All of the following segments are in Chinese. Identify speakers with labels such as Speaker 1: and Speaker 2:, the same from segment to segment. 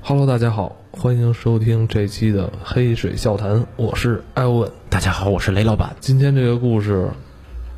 Speaker 1: Hello，大家好，欢迎收听这期的《黑水笑谈》，我是艾文。
Speaker 2: 大家好，我是雷老板。
Speaker 1: 今天这个故事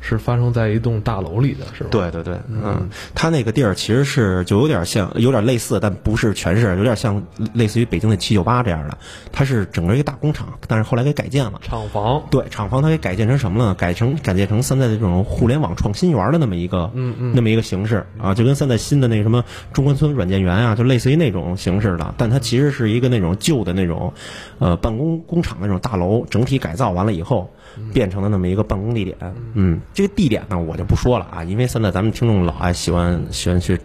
Speaker 1: 是发生在一栋大楼里的，是吧？
Speaker 2: 对对对，嗯，他那个地儿其实是就有点像，有点类似，但不是全是，有点像类似于北京的七九八这样的。它是整个一个大工厂，但是后来给改建了。
Speaker 1: 厂房，
Speaker 2: 对，厂房它给改建成什么了？改成改建成现在的这种互联网创新园的那么一个，嗯嗯，那么一个形式啊，就跟现在新的那个什么中关村软件园啊，就类似于那种形式的。但它其实是一个那种旧的那种，呃，办公工厂那种大楼，整体改造完了以后变成了那么一个办公地点。嗯，这个地点呢，我就不说了啊，因为现在咱们听众老爱喜欢喜欢去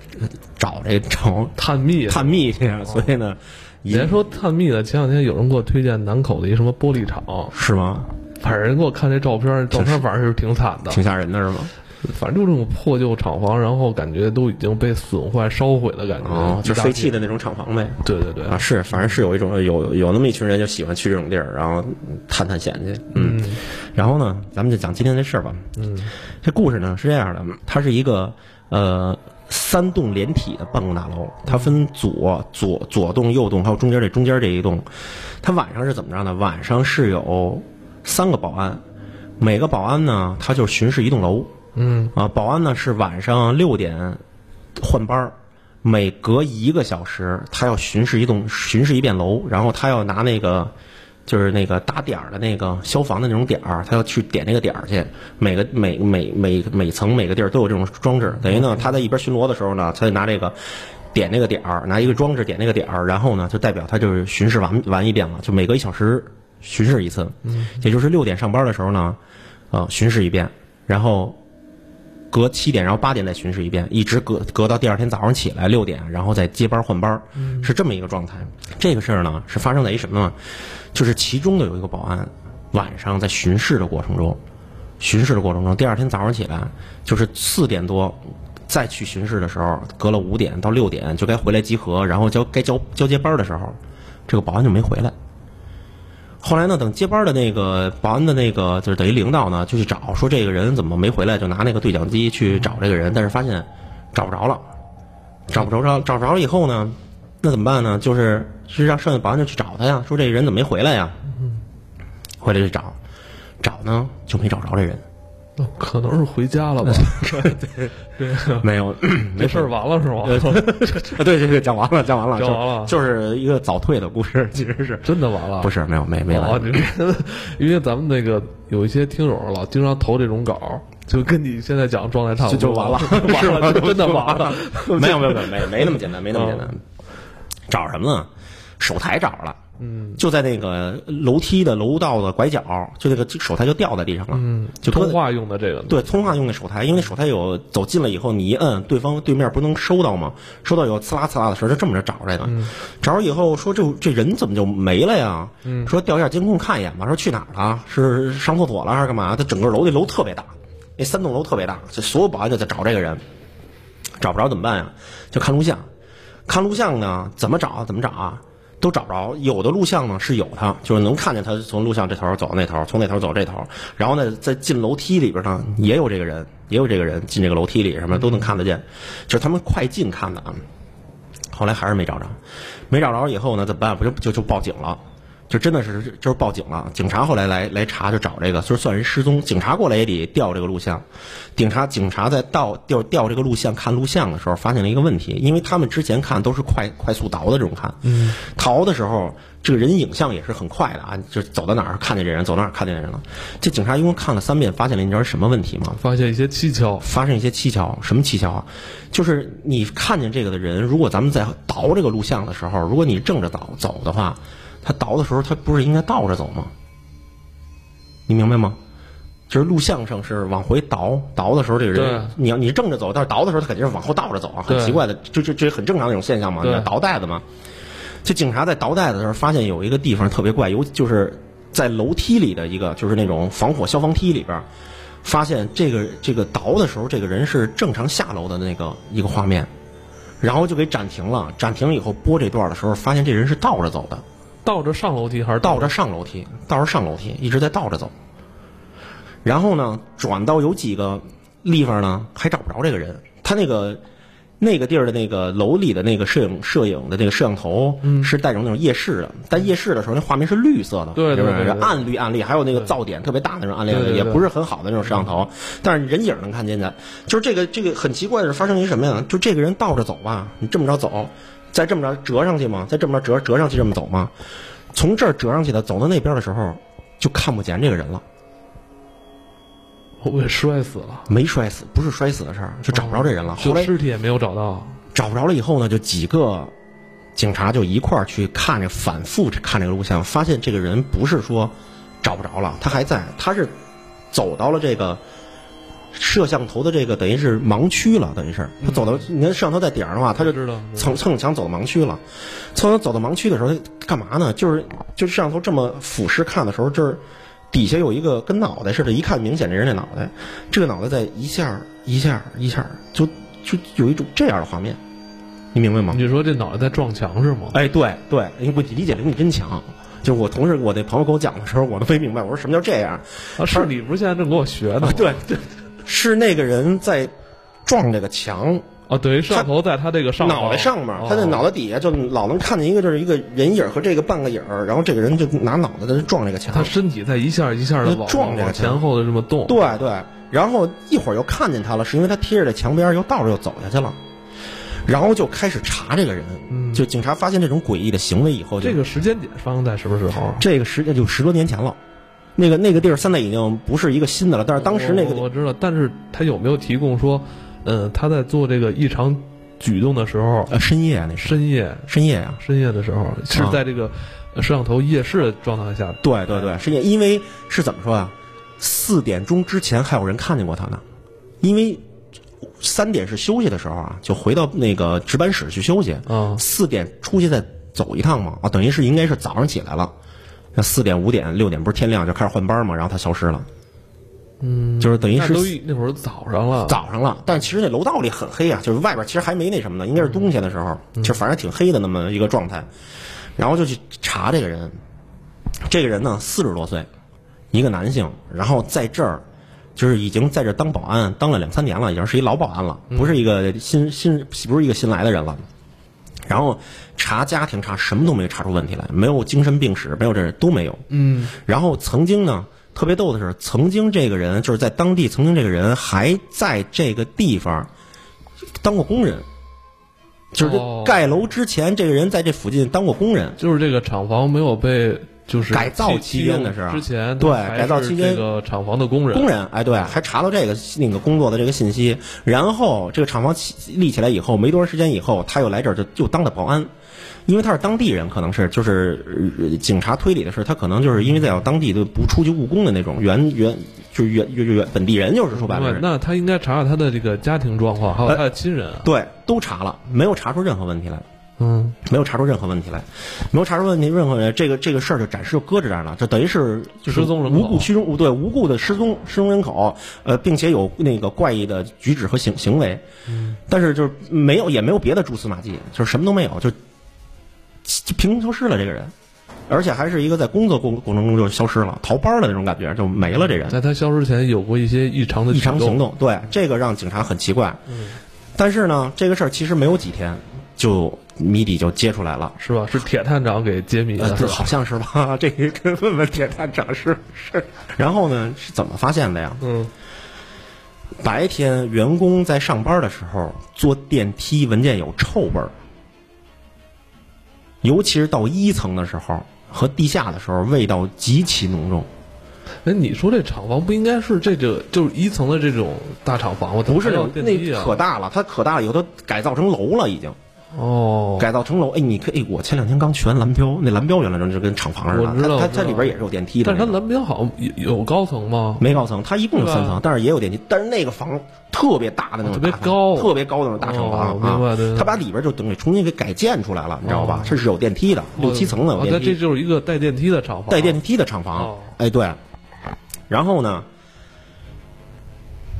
Speaker 2: 找这找
Speaker 1: 探秘。
Speaker 2: 探秘去，啊所以呢，
Speaker 1: 别
Speaker 2: 也
Speaker 1: 说探秘了，前两天有人给我推荐南口的一什么玻璃厂，
Speaker 2: 是吗？
Speaker 1: 反正给我看这照片，照片反正是挺惨的，
Speaker 2: 挺吓人的是吗？
Speaker 1: 反正就这种破旧厂房，然后感觉都已经被损坏、烧毁的感觉，
Speaker 2: 哦，就
Speaker 1: 一
Speaker 2: 是
Speaker 1: 大
Speaker 2: 废
Speaker 1: 片
Speaker 2: 弃的那种厂房呗。
Speaker 1: 对对对，
Speaker 2: 啊，是，反正是有一种有有那么一群人就喜欢去这种地儿，然后探探险去。嗯，然后呢，咱们就讲今天这事儿吧。嗯，这故事呢是这样的，它是一个呃三栋连体的办公大楼，它分左左左栋、右栋，还有中间这中间这一栋。它晚上是怎么着呢？晚上是有三个保安，每个保安呢他就巡视一栋楼。
Speaker 1: 嗯
Speaker 2: 啊，保安呢是晚上六点换班儿，每隔一个小时他要巡视一栋巡视一遍楼，然后他要拿那个就是那个打点儿的那个消防的那种点儿，他要去点那个点儿去。每个每每每每层每个地儿都有这种装置，等于呢他在一边巡逻的时候呢，他就拿这个。点那个点儿，拿一个装置点那个点儿，然后呢，就代表他就是巡视完完一遍了，就每隔一小时巡视一次，也就是六点上班的时候呢，呃，巡视一遍，然后隔七点，然后八点再巡视一遍，一直隔隔到第二天早上起来六点，然后再接班换班，是这么一个状态。这个事儿呢，是发生在一什么呢？就是其中的有一个保安，晚上在巡视的过程中，巡视的过程中，第二天早上起来就是四点多。再去巡视的时候，隔了五点到六点就该回来集合，然后交该交交接班的时候，这个保安就没回来。后来呢，等接班的那个保安的那个就是等于领导呢，就去找，说这个人怎么没回来，就拿那个对讲机去找这个人，但是发现找不着了，找不着着，找不着了以后呢，那怎么办呢？就是是让剩下保安就去找他呀，说这人怎么没回来呀？回来就找，找呢就没找着这人，
Speaker 1: 那哦可能是回家 了吧？对对，
Speaker 2: 没有，
Speaker 1: 这事儿完了是吗？
Speaker 2: 啊，对对对，讲完了，讲完了，
Speaker 1: 讲完了
Speaker 2: 就就是一个早退的故事，其实是
Speaker 1: 真的完了？
Speaker 2: 不是没有没没完
Speaker 1: 哦，你们因为咱们那个有一些听友老经常投这种稿，就跟你现在讲的状态差不多，，
Speaker 2: 就就完 了
Speaker 1: 完了，
Speaker 2: 是
Speaker 1: 就
Speaker 2: 吗
Speaker 1: 真的完了。。
Speaker 2: 没有没有没有哦没 没那么简单，没那么简单。找什么呢？手台找着了，嗯，就在那个楼梯的楼道的拐角，就那个手台就掉在地上了，嗯，就搁
Speaker 1: 通话用的这个，，
Speaker 2: 对，通话用的手台，因为那手台有走近了以后，你一摁，对方对面不能收到吗？收到有刺啦刺啦的声儿，就这么着找这个，找着以后说这这人怎么就没了呀？说调一下监控看一眼吧，说去哪儿了？是上厕所了还是干嘛？他整个楼那楼特别大，那三栋楼特别大，就所有保安就在找这个人，找不着怎么办呀？就看录像，看录像呢，怎么找怎么找啊？都找不着，有的录像呢是有他，就是能看见他从录像这头走那头，从那头走这头，然后呢，在进楼梯里边呢也有这个人，也有这个人进这个楼梯里什么都能看得见，就是他们快进看的啊。后来还是没找着，没找着以后呢，怎么办？不就就就报警了，就真的是就是报警了。警察后来来来查，就找这个，就是算人失踪。警察过来也得调这个录像。警察警察在到调调这个录像看录像的时候，发现了一个问题，因为他们之前看都是快快速倒的这种看，嗯，逃的时候这个人影像也是很快的啊，就是走到哪儿看见这人，走到哪儿看见这人了。这警察一共看了三遍，发现了你知道是什么问题吗？
Speaker 1: 发现一些蹊跷，
Speaker 2: 发生一些蹊跷，什么蹊跷啊？就是你看见这个的人，如果咱们在倒这个录像的时候，如果你正着倒走的话，他倒的时候他不是应该倒着走吗？你明白吗？就是录像上是往回倒，倒的时候这个
Speaker 1: 对
Speaker 2: 人，你要你正着走，但是倒的时候他肯定是往后倒着走啊，很
Speaker 1: 对
Speaker 2: 奇怪的，这这这很正常的一种现象嘛，
Speaker 1: 对
Speaker 2: 你要倒带子嘛。这警察在倒带的时候，发现有一个地方特别怪，尤就是在楼梯里的一个，就是那种防火消防梯里边儿，发现这个这个倒的时候，这个人是正常下楼的那个一个画面，然后就给暂停了。暂停以后播这段的时候，发现这人是倒着走的，
Speaker 1: 倒着上楼梯还是
Speaker 2: 倒着上楼梯，倒着上楼梯，一直在倒着走。然后呢，转到有几个地方呢，还找不着这个人。他那个那个地儿的那个楼里的那个摄影摄影的那个摄像头
Speaker 1: 嗯
Speaker 2: 是带种那种夜视的，但夜视的时候那画面是绿色的，
Speaker 1: 对对
Speaker 2: 是不是
Speaker 1: 对对对
Speaker 2: 暗绿暗绿，还有那个噪点特别大的那种暗
Speaker 1: 对嗯
Speaker 2: 绿，
Speaker 1: 对
Speaker 2: 也
Speaker 1: 对
Speaker 2: 不是很好的那种摄像头，但是人影能看见的。就是这个这个很奇怪的是发生于什么呀？就这个人倒着走吧，你这么着走，再这么着折上去吗？再这么着折折上去这么走吗？从这儿折上去的，走到那边的时候就看不见这个人了。
Speaker 1: 我被摔死了，
Speaker 2: 没摔死，不是摔死的事儿，就找不着这人了。后
Speaker 1: 就
Speaker 2: 来
Speaker 1: 尸体也没有找到，
Speaker 2: 找不着了以后呢，就几个警察就一块儿去看这，反复看这个录像，发现这个人不是说找不着了，他还在，他是走到了这个摄像头的这个等于是盲区了，等于是他走到，你看摄像头在顶上的话，他就
Speaker 1: 知道
Speaker 2: 蹭蹭墙走到盲区了。蹭墙走到盲区的时候，他干嘛呢？就是就是摄像头这么俯视看的时候，这儿底下有一个跟脑袋似的，一看明显这人这脑袋，这个脑袋在一下儿一下儿一下儿，就就有一种这样的画面，你明白吗？
Speaker 1: 你说这脑袋在撞墙是吗？啊
Speaker 2: 哎，对对，你我理解能力真强。就我同事，我那朋友给我讲的时候，我都没明白，我说什么叫这样？
Speaker 1: 啊，是你不是现在正给我学呢
Speaker 2: 啊？， 对对，是那个人在撞这个墙，
Speaker 1: 啊，等于摄像头在他这个上哦
Speaker 2: 脑袋上面，他在脑
Speaker 1: 袋
Speaker 2: 袋底下就老能看见一个就是一个人影儿和这个半个影儿，然后这个人就拿脑袋在这撞这个
Speaker 1: 他
Speaker 2: 墙，
Speaker 1: 身体在一下一下的往
Speaker 2: 撞这个
Speaker 1: 往
Speaker 2: 墙
Speaker 1: 前后的这么动，
Speaker 2: 对对，然后一会儿又看见他了，是因为他贴着这墙边儿又倒着又走下去了，然后就开始查这个人，
Speaker 1: 嗯
Speaker 2: 就警察发现这种诡异的行为以后就，
Speaker 1: 这个时间点发生在什么时候？啊
Speaker 2: 这个时间就十多年前了，那个那个地儿现在已经不是一个新的了，但是当时那个
Speaker 1: 我
Speaker 2: 地
Speaker 1: 我知道，但是他有没有提供说，呃，他在做这个异常举动的时候，
Speaker 2: 呃深夜啊那是
Speaker 1: 深夜
Speaker 2: 深夜啊，
Speaker 1: 深夜的时候是
Speaker 2: 啊
Speaker 1: 在这个呃摄像头夜视的状态下，
Speaker 2: 对对对，是因为因为是怎么说啊？四点钟之前还有人看见过他呢，因为三点是休息的时候啊，就回到那个值班室去休息。
Speaker 1: 啊
Speaker 2: 四点出去再走一趟嘛，啊，等于是应该是早上起来了。那四点、五点、六点不是天亮就开始换班嘛，然后他消失了。嗯，就是等于
Speaker 1: 那
Speaker 2: 是
Speaker 1: 都一那会儿早上了，
Speaker 2: 早上了，啊但其实那楼道里很黑啊，就是外边其实还没那什么呢，应该是冬天的时候，就反正挺黑的那么一个状态。然后就去查这个人，这个人呢四十多岁，一个男性，然后在这儿就是已经在这儿当保安当了两三年了，已经是一老保安了，不是一个新新不是一个新来的人了。然后查家庭查什么都没查出问题来，没有精神病史，没有这都没有。
Speaker 1: 嗯，
Speaker 2: 然后曾经呢，特别逗的是，曾经这个人就是在当地，曾经这个人还在这个地方当过工人，就是
Speaker 1: 哦
Speaker 2: 盖楼之前，这个人在这附近当过工人。
Speaker 1: 就是这个厂房没有被就是
Speaker 2: 改造
Speaker 1: 弃
Speaker 2: 期间的时候
Speaker 1: 弃用之前，
Speaker 2: 对
Speaker 1: 他还
Speaker 2: 改造
Speaker 1: 是
Speaker 2: 期间
Speaker 1: 这个厂房的工人
Speaker 2: 工人，哎，对，还查到这个那个工作的这个信息，然后这个厂房起立起来以后，没多长时间以后，他又来这儿就就当的保安，因为他是当地人，可能是就是、呃警察推理的是，他可能就是因为在当地就不出去务工的那种原原就是原原原本地人，就是说白了
Speaker 1: 对
Speaker 2: 是，
Speaker 1: 那他应该查查他的这个家庭状况，还有
Speaker 2: 呃
Speaker 1: 他的亲人啊，
Speaker 2: 对，都查了，没有查出任何问题来，
Speaker 1: 嗯，
Speaker 2: 没有查出任何问题来，没有查出问题任何问题，这个这个事儿就暂时就搁置这儿了，这等于是就是
Speaker 1: 失踪人口
Speaker 2: 无故失踪，对无故的失踪失踪人口，呃，并且有那个怪异的举止和行行为，
Speaker 1: 嗯
Speaker 2: 但是就是没有也没有别的蛛丝马迹，就是什么都没有，就就凭空消失了这个人。而且还是一个在工作过过程中就消失了、逃班了那种感觉，就没了这人。
Speaker 1: 在他消失前有过一些异常的
Speaker 2: 异常
Speaker 1: 举
Speaker 2: 行
Speaker 1: 动，嗯
Speaker 2: 动，对这个让警察很奇怪。但是呢，这个事儿其实没有几天，就谜底就揭出来了。
Speaker 1: 是吧？是铁探长给揭秘
Speaker 2: 呃，
Speaker 1: 的，
Speaker 2: 这
Speaker 1: 是
Speaker 2: 好
Speaker 1: 吧？
Speaker 2: 像是吧？ 这个跟问问铁探长是是。然后呢，是怎么发现的呀？
Speaker 1: 嗯，
Speaker 2: 白天员工在上班的时候，坐电梯闻见有臭味儿，尤其是到一层的时候和地下的时候，味道极其浓重。
Speaker 1: 哎，你说这厂房不应该是这个就是一层的这种大厂房吗？它
Speaker 2: 不是
Speaker 1: 还有
Speaker 2: 那
Speaker 1: 电梯
Speaker 2: 那
Speaker 1: 啊
Speaker 2: 可？大了，它可大了以后，它改造成楼了已经。
Speaker 1: 哦，
Speaker 2: 改造成楼。哎，你可以，我前两天刚学完蓝标，那蓝标原来就是跟厂房似
Speaker 1: 我知
Speaker 2: 的，
Speaker 1: 道我
Speaker 2: 它它
Speaker 1: 知道
Speaker 2: 它里边也是有电梯的
Speaker 1: 但是
Speaker 2: 那个。
Speaker 1: 它蓝标好像有有高层吗？
Speaker 2: 没高层，它一共有三
Speaker 1: 对
Speaker 2: 层
Speaker 1: 吧，
Speaker 2: 但是也有电梯。但是那个房特别大的那种
Speaker 1: 哦特
Speaker 2: 大
Speaker 1: 别
Speaker 2: 厂房，
Speaker 1: 高
Speaker 2: 特别高的那种大厂
Speaker 1: 哦
Speaker 2: 房
Speaker 1: 明白对
Speaker 2: 啊
Speaker 1: 对。
Speaker 2: 它把里边就等于重新给改建出来了，你知道吧
Speaker 1: 哦？
Speaker 2: 这是有电梯的，六七层的
Speaker 1: 哦
Speaker 2: 有
Speaker 1: 那
Speaker 2: 电
Speaker 1: 这
Speaker 2: 梯，
Speaker 1: 就是一个带电梯的厂房，
Speaker 2: 带电梯的厂房
Speaker 1: 哦。
Speaker 2: 哎，对。然后呢，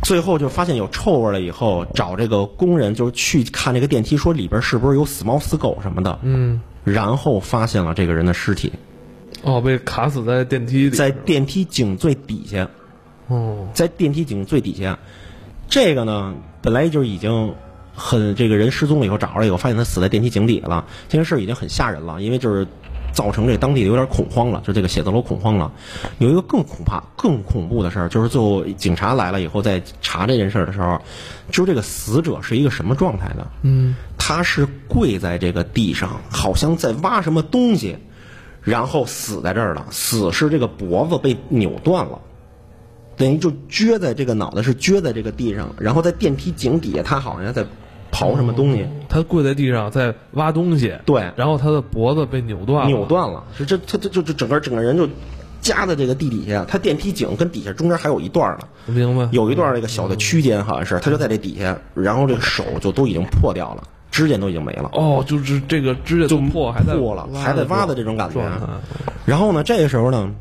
Speaker 2: 最后就发现有臭味了，以后找这个工人就是去看这个电梯，说里边是不是有死猫死狗什么的。
Speaker 1: 嗯，
Speaker 2: 然后发现了这个人的尸体，
Speaker 1: 哦，被卡死在电梯里，
Speaker 2: 在电梯井最底下，
Speaker 1: 哦，
Speaker 2: 在电梯井最底下。这个呢，本来就已经很这个人失踪了以后找着了以后，发现他死在电梯井底了，这件事儿已经很吓人了，因为就是造成这当地有点恐慌了，就这个写字楼恐慌了。有一个更恐怕、更恐怖的事儿，就是最后警察来了以后，在查这件事儿的时候，就是这个死者是一个什么状态呢？嗯，他是跪在这个地上，好像在挖什么东西，然后死在这儿了。死是这个脖子被扭断了。等于就撅在这个脑袋是撅在这个地上，然后在电梯井底下，他好像在刨什么东西，
Speaker 1: 他跪在地上在挖东西，
Speaker 2: 对
Speaker 1: 然后他的脖子被扭断了，
Speaker 2: 扭断了，是这他这就就整个整个人就夹在这个地底下，他电梯井跟底下中间还有一段呢，
Speaker 1: 明白？
Speaker 2: 有一段那个小的区间好像是，他就在这底下，然后这个手就都已经破掉了，指甲都已经没了。
Speaker 1: 哦，就是这个指甲都破，还在
Speaker 2: 破了，还在挖的这种感觉啊
Speaker 1: 状。态，
Speaker 2: 然后呢，这个时候呢，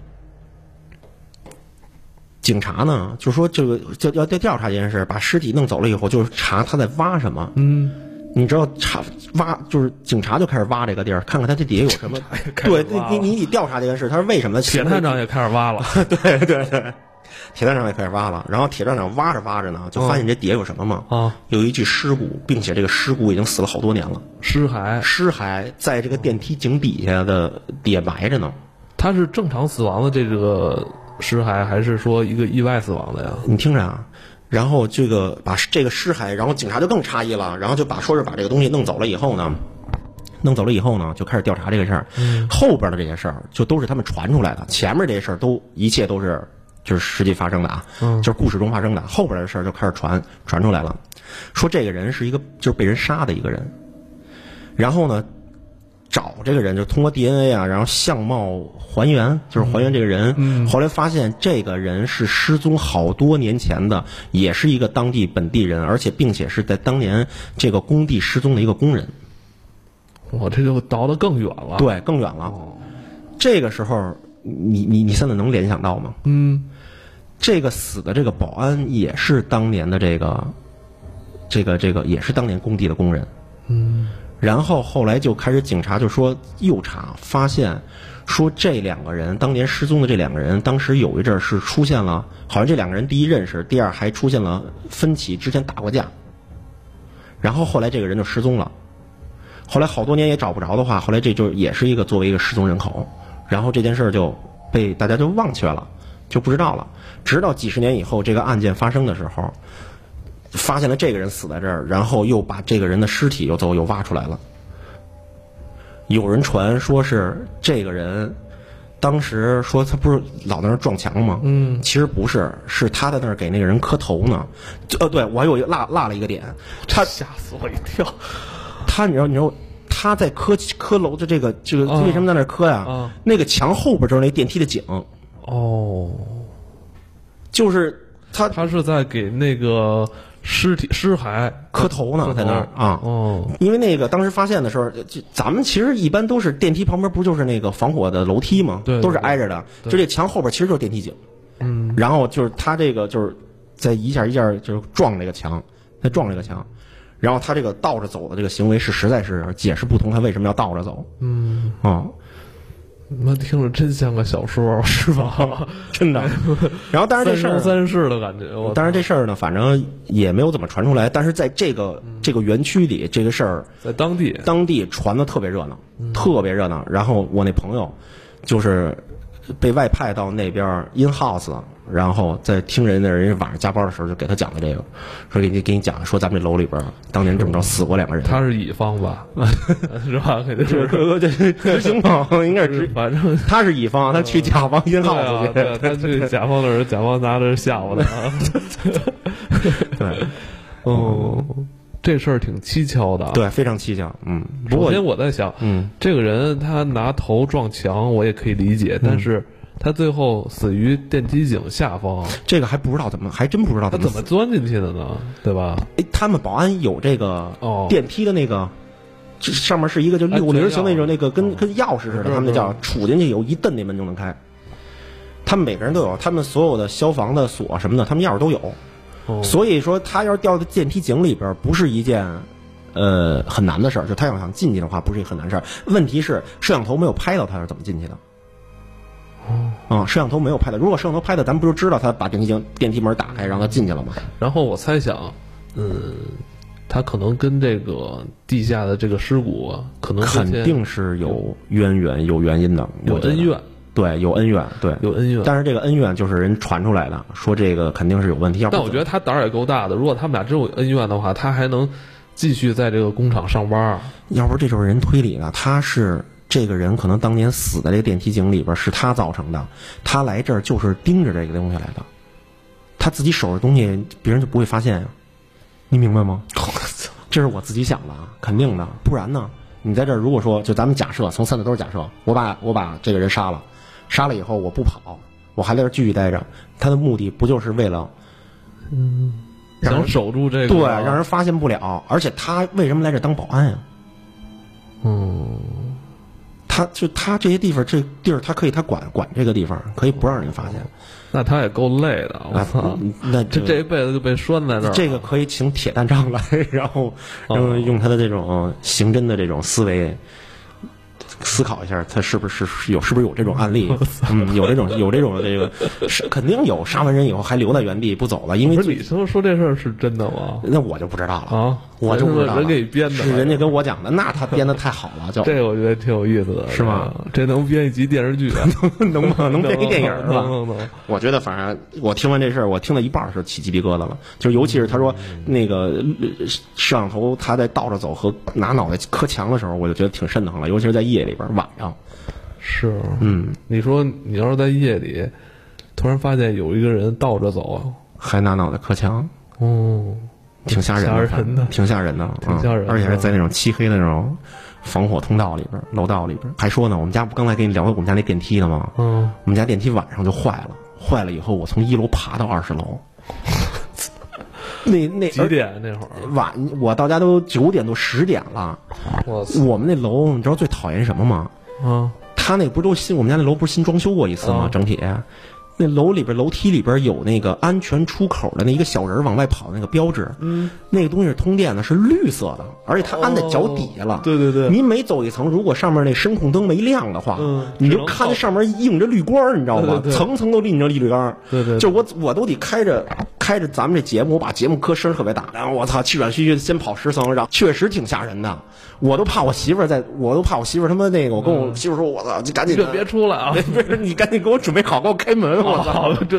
Speaker 2: 警察呢就说这个就要要调查这件事，把尸体弄走了以后，就是查他在挖什么。嗯，你知道查挖就是警察就开始挖这个地儿，看看他这底下有什么。
Speaker 1: 开始
Speaker 2: 对，
Speaker 1: 挖
Speaker 2: 你你你得调查这件事，他是为什么？
Speaker 1: 铁探长也开始 挖了，
Speaker 2: 对对对，铁站长也开始挖了。然后铁站长挖着挖着呢，
Speaker 1: 哦
Speaker 2: 就发现这底下有什么嘛？
Speaker 1: 啊，
Speaker 2: 有一具尸骨，并且这个尸骨已经死了好多年了，
Speaker 1: 尸骸，
Speaker 2: 尸骸在这个电梯井底下的底下埋着呢。
Speaker 1: 他是正常死亡的这个尸骸，还是说一个意外死亡的呀？
Speaker 2: 你听着啊，然后这个把这个尸骸，然后警察就更诧异了，然后就把说是把这个东西弄走了以后呢，弄走了以后呢，就开始调查这个事儿。后边的这些事儿就都是他们传出来的，前面这些事儿都一切都是就是实际发生的啊，就是故事中发生的。后边的事儿就开始传传出来了，说这个人是一个就是被人杀的一个人，然后呢。找这个人就通过 DNA 啊，然后相貌还原，就是还原这个人。后来发现这个人是失踪好多年前的，也是一个当地本地人，而且并且是在当年这个工地失踪的一个工人。
Speaker 1: 我这就倒得更远了。，
Speaker 2: 对，更远了。这个时候，你你你现在能联想到吗？
Speaker 1: 嗯，
Speaker 2: 这个死的这个保安也是当年的这个，这个这个也是当年工地的工人。嗯，然后后来就开始警察就说又查，发现说这两个人当年失踪的这两个人，当时有一阵儿是出现了，好像这两个人第一认识，第二还出现了分歧，之前打过架。然后后来这个人就失踪了，后来好多年也找不着的话，后来这就也是一个作为一个失踪人口，然后这件事儿就被大家就忘却了，就不知道了。直到几十年以后，这个案件发生的时候，发现了这个人死在这儿，然后又把这个人的尸体又走又挖出来了。有人传说是这个人，当时说他不是老在那儿撞墙吗？嗯，其实不是，是他在那儿给那个人磕头呢。就呃，对我还有一个落落了一个点，他
Speaker 1: 吓死我一跳。
Speaker 2: 他你知道你知道他在磕磕楼的这个这个
Speaker 1: 啊
Speaker 2: 为什么在那儿磕呀、
Speaker 1: 啊
Speaker 2: 那个墙后边就是那电梯的井，
Speaker 1: 哦，
Speaker 2: 就是他
Speaker 1: 他是在给那个尸体尸骸
Speaker 2: 磕头呢，
Speaker 1: 磕
Speaker 2: 在那儿啊。
Speaker 1: 哦，
Speaker 2: 因为那个当时发现的时候，就咱们其实一般都是电梯旁边不就是那个防火的楼梯吗？
Speaker 1: 对对
Speaker 2: 都是挨着的。就这墙后边其实就是电梯井。嗯。然后就是他这个就是在一下一下就是撞这个墙，在撞这个墙，然后他这个倒着走的这个行为是实在是解释不通，他为什么要倒着走？嗯。啊、
Speaker 1: 妈听着真像个小说，是吧？
Speaker 2: 真 的。然后当然这
Speaker 1: 三
Speaker 2: 事儿
Speaker 1: 生三世的感觉，我
Speaker 2: 当然这事儿呢，反正也没有怎么传出来，但是在这个
Speaker 1: 嗯
Speaker 2: 这个园区里，这个事儿
Speaker 1: 在当地
Speaker 2: 当地传的特别热闹，特别热闹。然后我那朋友就是被外派到那边儿 in house，然后在听人的人晚上加班的时候就给他讲的这个，说给你给你讲说咱们这楼里边儿当年这么着死过两个人，
Speaker 1: 他是乙方 吧，是吧？肯定
Speaker 2: 这
Speaker 1: 是，
Speaker 2: 这这执行 方应该是执，
Speaker 1: 反正
Speaker 2: 他是乙方，他去甲方 in
Speaker 1: 对啊
Speaker 2: house 去，，
Speaker 1: 对啊他去甲方那儿，甲方拿着吓唬 他。
Speaker 2: 对
Speaker 1: 哦，这事儿挺蹊跷的啊。
Speaker 2: 嗯对，非常蹊跷，嗯。不
Speaker 1: 首
Speaker 2: 过
Speaker 1: 先我在想，
Speaker 2: 嗯，
Speaker 1: 这个人他拿头撞墙，我也可以理解，
Speaker 2: 嗯
Speaker 1: 但是他最后死于电梯井下方，
Speaker 2: 这个还不知道怎么，还真不知道
Speaker 1: 他
Speaker 2: 怎么
Speaker 1: 怎
Speaker 2: 死
Speaker 1: 么钻进去的呢？对吧？
Speaker 2: 哎，他们保安有这个
Speaker 1: 哦
Speaker 2: 电梯的那个，这上面是一个就六零型那种
Speaker 1: 哎对
Speaker 2: 那个跟跟钥匙似的，
Speaker 1: 嗯
Speaker 2: 他们那叫
Speaker 1: 嗯
Speaker 2: 杵进去以后一蹬那门就能开。他们每个人都有，他们所有的消防的锁什么的，他们钥匙都有。
Speaker 1: 哦
Speaker 2: 所以说，他要是掉到电梯井里边，不是一件呃很难的事儿。就他要想进去的话，不是一个很难事儿。问题是摄像头没有拍到他是怎么进去的。
Speaker 1: 哦
Speaker 2: 啊、摄像头没有拍到。如果摄像头拍到，咱们不就知道他把电梯井电梯门打开，让他进去了吗？
Speaker 1: 然后我猜想，嗯，它可能跟这个地下的这个尸骨啊，可能
Speaker 2: 肯
Speaker 1: 之前
Speaker 2: 定是有渊源、有原因的，
Speaker 1: 有
Speaker 2: 我觉得
Speaker 1: 恩，怨，
Speaker 2: 对，有恩怨，对。
Speaker 1: 有恩怨。
Speaker 2: 但是这个恩怨就是人传出来的，说这个肯定是有问题。要不
Speaker 1: 但我觉得他胆儿也够大的，如果他们俩真有恩怨的话，他还能继续在这个工厂上班儿。
Speaker 2: 要不这就是人推理了，他是这个人可能当年死在这个电梯井里边是他造成的，他来这儿就是盯着这个东西来的，他自己守着东西，别人就不会发现呀、你明白 吗？这是我自己想的，啊，肯定的，不然呢？你在这儿如果说就咱们假设，从三的都是假设，我把我把这个人杀了，杀了以后我不跑，我还在这儿继续待着，他的目的不就是为了让人
Speaker 1: 想守住这个，
Speaker 2: 对让人发现不了？而且他为什么来这儿当保安呀、
Speaker 1: 嗯，
Speaker 2: 他就他这些地方，这地儿他可以他管管这个地方，可以不让人发现。
Speaker 1: 那他也够累的，我操
Speaker 2: 啊，，那
Speaker 1: 这这一辈子就被拴在那儿了，啊哦
Speaker 2: 这个可以请铁蛋丈来， 然后然后用他的这种刑侦的这种思维思考一下，他是不是是有是不是有这种案例？嗯，有这种有这种这个是肯定有杀完人以后还留在原地不走了，因为
Speaker 1: 不是你说说这事儿是真的吗？
Speaker 2: 那我就不知道了，
Speaker 1: 啊，
Speaker 2: 我就
Speaker 1: 人
Speaker 2: 不知道了
Speaker 1: 人给你编的，
Speaker 2: 是人家跟我讲的，那他编的太好了，就
Speaker 1: 这个我觉得挺有意思的，
Speaker 2: 是吗
Speaker 1: 这个？这能编一集电视剧，啊
Speaker 2: 能吗？ 能编一电影儿是吧？
Speaker 1: 能能能。
Speaker 2: 我觉得，反正我听完这事儿，我听到一半儿的时候起鸡皮疙瘩了。就是尤其是他说
Speaker 1: 嗯
Speaker 2: 那个呃摄像头他在倒着走和拿脑袋磕墙的时候，我就觉得挺瘆得慌了。尤其是在夜里边儿晚上，
Speaker 1: 是，
Speaker 2: 嗯，
Speaker 1: 你说你要是在夜里突然发现有一个人倒着走，啊
Speaker 2: 还拿脑袋磕墙，
Speaker 1: 哦，
Speaker 2: 挺吓人的，
Speaker 1: 吓人的
Speaker 2: 挺吓人的，
Speaker 1: 挺吓人的
Speaker 2: 嗯而且是在那种漆黑的那种防火通道里边儿、楼道里边儿。还说呢，我们家不刚才跟你聊到我们家那电梯了吗？
Speaker 1: 嗯，
Speaker 2: 我们家电梯晚上就坏了，坏了以后我从一楼爬到二十楼，那那
Speaker 1: 几点那会儿？
Speaker 2: 晚，我到家都九点多十点了。
Speaker 1: 我操
Speaker 2: 我们那楼，你知道最讨厌什么吗？
Speaker 1: 啊！
Speaker 2: 他那不都新，我们家那楼不是新装修过一次吗？
Speaker 1: 哦
Speaker 2: 整体，那楼里边楼梯里边有那个安全出口的那一个小人儿往外跑的那个标志，嗯，那个东西是通电的，是绿色的，而且它安在脚底下了。
Speaker 1: 哦对对对
Speaker 2: 你每走一层，如果上面那声控灯没亮的话，
Speaker 1: 嗯
Speaker 2: 你
Speaker 1: 只
Speaker 2: 就
Speaker 1: 能靠
Speaker 2: 看那上面映着绿光儿，你知道吗？
Speaker 1: 对对对
Speaker 2: 层层都立着绿绿杆儿。
Speaker 1: 对对对
Speaker 2: 就我我都得开着开着咱们这节目，我把节目搁声儿特别大，然后我操气喘吁吁地先跑十层，然后确实挺吓人的，我都怕我媳妇儿在，我都怕我媳妇儿他妈那个，我跟我媳妇儿说，我操，就赶紧
Speaker 1: 就嗯别出来 啊！
Speaker 2: 不是你赶紧给我准备好，给我开门！我操
Speaker 1: 好， 这，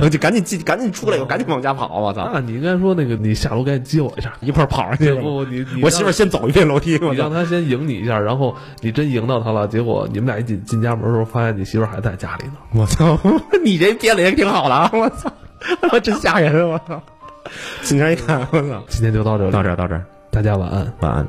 Speaker 2: 我就赶紧进，赶紧出来，我赶紧往家跑！我操，
Speaker 1: 那你应该说那个，你下楼赶紧接我一下。
Speaker 2: 一块儿跑上去了。
Speaker 1: 不不你你
Speaker 2: 我媳妇儿先走一遍楼梯， 我
Speaker 1: 你让
Speaker 2: 操！
Speaker 1: 他先赢你一下，然后你真赢到他了，结果你们俩一进进家门的时候，发现你媳妇儿还在家里呢。
Speaker 2: 我操， 你这编的也挺好的啊！我操，真 吓人！我操，今天一看，我操，
Speaker 1: 今天就到这里，
Speaker 2: 这儿到这儿，
Speaker 1: 大家晚安。
Speaker 2: 晚安。